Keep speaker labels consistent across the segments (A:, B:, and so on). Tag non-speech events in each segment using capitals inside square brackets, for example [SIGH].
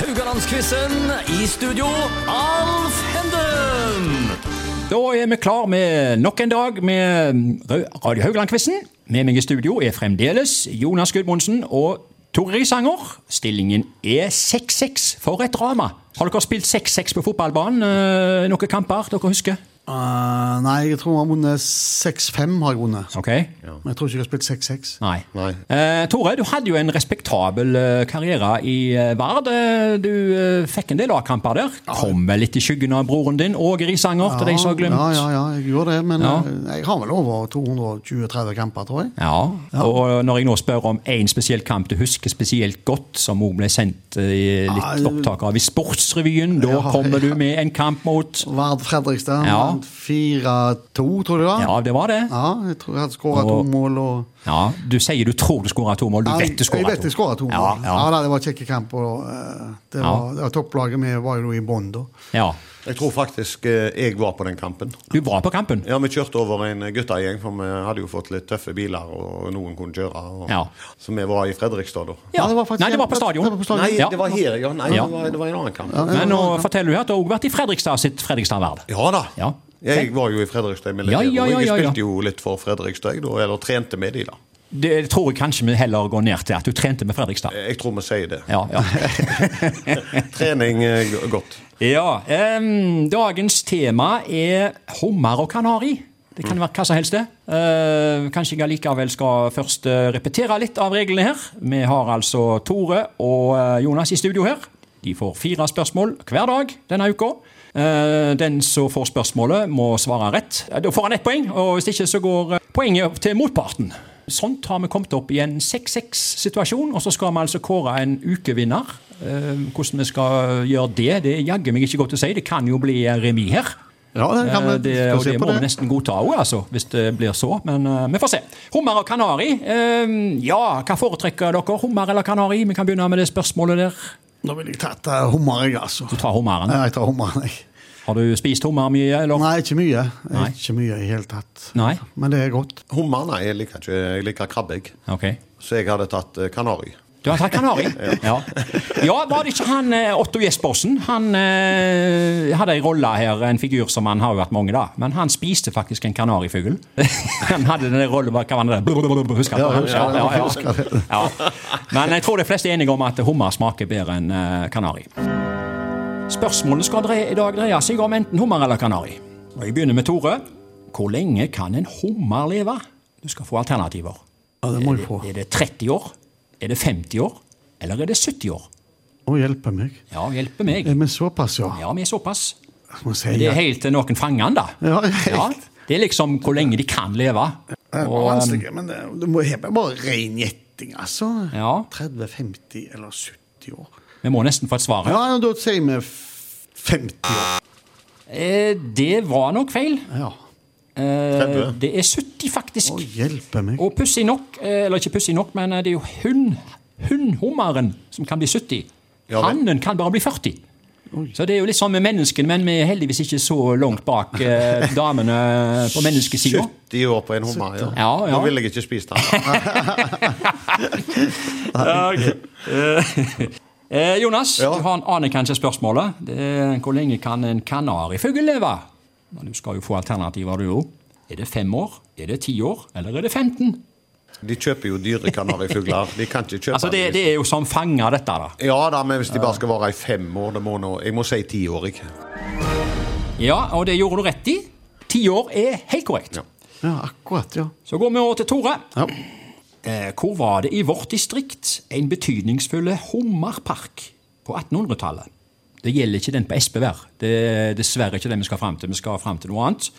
A: Haugalandsquizen i studio, Alf Henden!
B: Da er vi klar med nok en dag med Rø- Radio Haugland-quizen. Med meg i studio er fremdeles Jonas Gudmundsen og Tore Risanger. Stillingen er 6-6 for et drama. Har dere spilt 6-6 på fotballbanen eh, noen kamper dere husker?
C: Eh, nei, jeg tror vi har vunnet 6-5. har jeg vunnet.
B: Ok?
C: Men jeg tror ikke jeg har spilt 6-6.
B: Nei.
D: Nei.
B: Eh, Tore, du hadde jo en respektabel eh, karriere i eh, Vard. Eh, Du eh, fikk en del A-kamper der. Kom vel litt i skyggen av broren din, Åge Risanger, til de som har glemt.
C: Ja, ja, ja, jeg gjorde det, men
B: Ja.
C: eh, jeg har vel over 220-30 kamper, tror jeg.
B: Ja, og når jeg nå spør om én spesiell kamp du husker spesielt godt, som òg ble sendt eh, litt
C: Nei.
B: opptak av i Sportsrevyen, da
C: Ja,
B: kommer du
C: ja.
B: med en kamp mot
C: Vard Fredrikstad
B: Ja.
C: vant 4-2, tror du det?
B: Ja, det var det.
C: ja, jeg tror jeg hadde skåra to
B: Og-
C: mål. Og...
B: Ja, Du sier du tror du skåra to mål, du
C: Ja,
B: vet du
C: jeg
B: skåra
C: vet jeg skåra to mål.
B: Ja,
C: Ja,
B: ja.
C: da, Det var kjekke kamper. og, eh, Det
B: Ja.
C: var, det var topplaget vi var jo i bånn da.
B: ja.
D: Jeg tror faktisk eh, jeg var på den kampen.
B: Du var på kampen.
D: Ja, Vi kjørte over en guttegjeng, for vi hadde jo fått litt tøffe biler, og noen kunne kjøre. Og,
B: Ja.
D: Så vi var i Fredrikstad da.
B: Ja.
C: Ja, det var faktisk-
B: Nei, det var på stadion.
C: Det var på stadion.
D: Nei,
B: Ja.
D: det var her, ja. Nei,
B: Ja.
D: Det, var, det var en annen kamp.
B: Men nå forteller du at du har òg vært i Fredrikstad sitt Fredrikstad-verd.
D: Ja da.
B: Ja.
D: Jeg var jo i Fredrikstad i militæret,
B: Ja, ja, ja,
D: og
B: ja,
D: jeg
B: ja.
D: spilte jo litt for Fredrikstad, jeg, da, eller trente med de da.
B: Det tror jeg kanskje vi heller går ned til at du trente med Fredrikstad.
D: Jeg tror vi sier det.
B: Ja,
C: [LAUGHS]
B: ja.
D: Trening eh, g- godt.
B: Ja, em, dagens tema er hummer og kanari. Det kan være hva som helst det. Eh, kanskje jeg allikevel skal først eh, repetere litt av reglene her. Vi har altså Tore og eh, Jonas i studio her. De får fire spørsmål hver dag denne uka. Eh, den som får spørsmålet, må svare rett. Eh, Da får han ett poeng, og hvis ikke så går eh, poenget til motparten. Sånt har vi kommet opp i en 6-6-situasjon, og så skal vi altså kåre en ukevinner. Eh, Hvordan vi skal gjøre det, det er jaggu meg ikke godt å si. Det kan jo bli remis her.
C: Ja, det kan vi
B: Eh, det,
C: skal
B: og
C: se
B: det
C: på
B: må vi nesten godta òg, altså, hvis det blir så. Men eh, vi får se. Hummer og kanari. eh, ja, hva foretrekker dere? Hummer eller kanari? Vi kan begynne med det spørsmålet der.
C: Nå ville jeg tatt eh, hummer, jeg, altså.
B: Du tar hummeren.
C: Ja, jeg tar hummeren, jeg.
B: Har du spist hummer mye, eller?
C: Nei, ikke mye.
B: Nei.
C: Ikke mye i hele tatt.
B: Nei?
C: Men det er godt.
D: Hummer, nei, jeg liker ikke jeg liker krabbe, jeg.
B: Ok.
D: Så jeg hadde tatt eh, kanari.
B: Du har tatt
C: [LAUGHS]
B: kanari? ja. ja, var det ikke han eh, Otto Jespersen? Han eh, hadde ei rolle her, en figur som han har jo vært mange, da. Men han spiste faktisk en
C: [LAUGHS]
B: kanarifugl. han hadde den der rollen hva var det der? Brr, brr, brr, Husker
C: Ja,
B: du?
C: husker det, husker det.
B: ja. Men jeg tror de fleste er enige om at hummer smaker bedre enn eh, kanari. Spørsmålet skal dreie, i dag dreie seg om enten hummer eller kanari. Og Jeg begynner med Tore. Hvor lenge kan en hummer leve? Du skal få alternativer.
C: Ja, det må jeg få.
B: Er det 30 år? Er det 50 år? Eller er det 70 år?
C: Å, hjelpe meg.
B: Ja, hjelpe meg.
C: Er vi såpass, ja?
B: Ja, vi er såpass.
C: Jeg Må si
B: Det er
C: ja.
B: helt til noen fanger den, da.
C: Ja, helt.
B: det er liksom hvor lenge de kan leve.
C: Det var
B: um,
C: vanskelig, men det, du må heve bare ren gjetting, altså.
B: Ja.
C: 30, 50 eller 70 år.
B: Vi må nesten få et svar. her.
C: Ja, ja, da sier vi f- 50 år.
B: Eh, Det var nok feil.
C: Ja.
B: Eh,
D: 30.
B: Det er 70, faktisk.
C: Å, hjelpe meg.
B: Og pussig nok, eh, eller ikke pussig nok, men eh, det er jo hund, hundhummeren som kan bli 70.
D: Ja vel.
B: Hannen kan bare bli 40. Så det er jo litt sånn med menneskene, men vi er heldigvis ikke så langt bak eh, damene på menneskesida.
D: 70 år på en hummer, ja.
B: Ja, ja.
D: Nå ville jeg ikke
B: [LAUGHS]
D: spist den.
B: Eh, Jonas,
D: Ja.
B: du har en aner kanskje spørsmålet. Det er, hvor lenge kan en kanarifugl leve? Men Du skal jo få alternativer, du òg. Er det fem år, er det ti år, eller er det 15?
D: De kjøper jo dyre kanarifugler. De kan ikke kjøpe
B: Altså, det,
D: de-
B: det er jo som fanger, dette, da.
D: Ja da, men hvis de bare skal vare i fem år, det må nå Jeg må si ti år, jeg.
B: Ja, og det gjorde du rett i. Ti år er helt korrekt.
D: Ja.
C: Ja, akkurat, ja.
B: Så går vi over til Tore.
C: Ja.
B: Eh, hvor var det i vårt distrikt en betydningsfull hummerpark på 1800-tallet? Det gjelder ikke den på Espevær. Det er dessverre ikke den vi skal fram til. Vi skal fram til noe annet.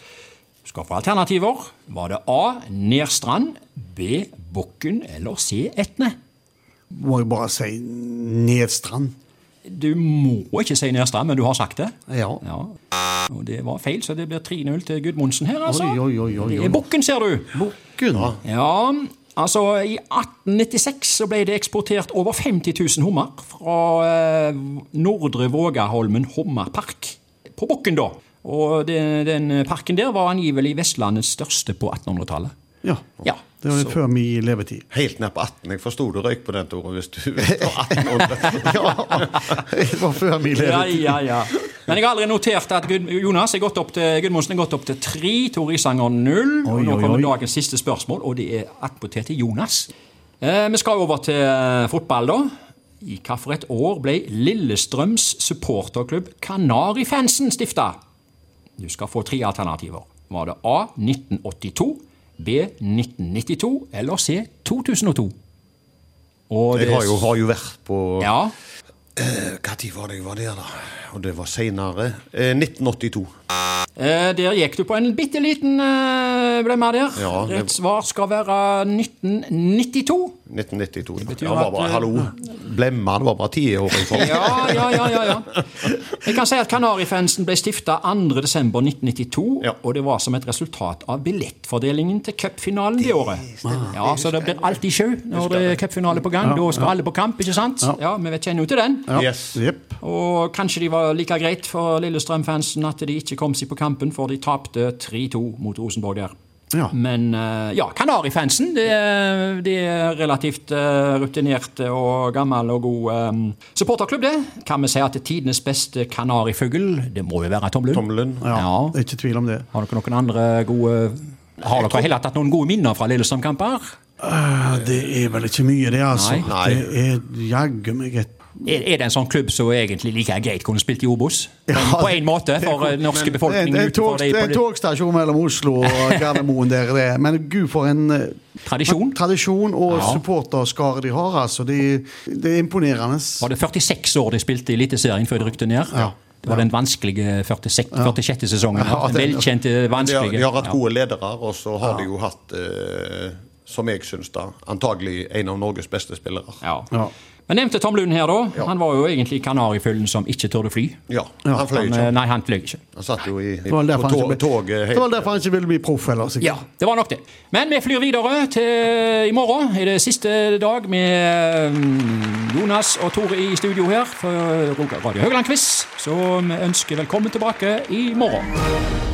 B: Vi skal få alternativer. Var det A. Nerstrand, B. Bukken eller C. Etne?
C: Må jeg bare si Nedstrand.
B: Du må ikke si Nerstrand, men du har sagt det.
C: Ja.
B: Ja. Og det var feil, så det blir 3-0 til Gudmundsen her, altså.
C: Oi, oi, oi, oi,
B: Det
C: oi.
B: er Bukken, ser du.
C: Bukken.
B: Ja, altså i 1896 så ble det eksportert over 50 000 hummer fra eh, Nordre Vågaholmen hummerpark på Bukken da. Og den, den parken der var angivelig Vestlandets største på 1800-tallet.
C: Ja.
B: Ja,
C: Det var litt før min levetid. [LAUGHS]
D: Helt ned på 18. Jeg forsto du røyk på den, Tore. Hvis du var
B: [LAUGHS]
D: 18
C: Det var før min
B: Ja,
C: levetid.
B: ja, ja. Men jeg har aldri notert at Gud, Jonas er gått opp til, Gudmundsen er gått opp til tre, Tore Isanger null. Og
C: Oi,
B: nå
C: oi,
B: kommer
C: oi.
B: dagens siste spørsmål, og det er attpåtil til Jonas. Eh, vi skal over til eh, fotball, da. I hva for et år ble Lillestrøms supporterklubb Kanarifansen stifta? Du skal få tre alternativer. Var det A 1982, B 1992 eller C 2002? Og
D: Jeg
B: det-
D: har jo, har jo vært på
B: Ja.
D: Når var det jeg var der, da? Og det var seinere. Eh, 1982.
B: Eh, der gikk du på en bitte liten eh, blemme der.
D: Ja, det-
B: Rett svar skal være 1992.
D: 1992.
B: betyr
D: Ja, det var
B: at,
D: bare,
B: eh,
D: hallo! Blemma, det var bare tiåring
B: [LAUGHS]
D: for
B: Ja, ja, ja. ja, ja. Jeg kan si at Kanarifansen ble stifta 2.12.1992,
D: Ja.
B: og det var som et resultat av billettfordelingen til cupfinalen det året. Ja, Så det blir alltid sjau når det er cupfinale på gang. Da skal alle på kamp, ikke sant? Ja, Vi vet- kjenner jo til den.
D: Yes.
C: Jepp.
B: Og kanskje de var like greit for Lillestrøm-fansen at de ikke kom seg på kampen, for de tapte 3-2 mot Rosenborg der.
C: Ja.
B: Men eh, ja, Kanarifansen det, er- det er relativt eh, rutinerte og gammel og god eh, supporterklubb, det. Kan vi si at det er tidenes beste kanarifugl? Det må jo være Tom Lund.
D: Tom Lund.
C: Ja,
B: Ja.
C: det er ikke tvil om det.
B: Har dere noen andre gode Har dere heller tatt noen gode minner fra Lillestrøm-kamper?
C: Eh, Det er vel ikke mye, det, altså.
B: Nei.
D: Nei.
C: Det er jaggu meg et
B: Er, er det en sånn klubb som egentlig like greit kunne spilt i Obos? På en-
C: Ja,
B: på en måte, for eh, norske
C: Det er-
B: befolkningen
C: det er en
B: utenfor
C: tog-
B: de-
C: det er en togstasjon mellom Oslo og Gardermoen der, det. Men gud, for en eh,
B: Tradisjon.
C: tradisjon og
B: Ja.
C: supporterskare de har, altså. De, det er imponerende.
B: Var det 46 år de spilte i Eliteserien før de rykte ned?
C: Ja.
B: Det var den vanskelige 46, 46. sesongen.
C: Ja,
B: den
C: det-
B: velkjente,
D: De har,
B: vanskelige.
D: de har hatt
B: Ja.
D: gode ledere, og så har de jo hatt, eh, som jeg syns, da, antagelig en av Norges beste spillere.
B: Ja.
C: Ja.
B: Men nevnte Tom Lund her, da. Han var jo egentlig kanarifuglen som ikke turde fly.
D: Ja, han fløy
B: Han,
D: ikke.
B: eh, nei, han fløy ikke.
D: Han satt jo i,
C: Det var vel
D: på
C: derfor han
D: tog,
C: ikke ble-
D: toget
C: det var vel
D: helt
C: derfor han ikke ville bli proff heller. sikkert.
B: Ja, det var nok det. Men vi flyr videre til eh, i morgen. Er det siste dag med mm, Jonas og Tore i studio her for Radio Høgland-quiz. Så vi ønsker velkommen tilbake i morgen.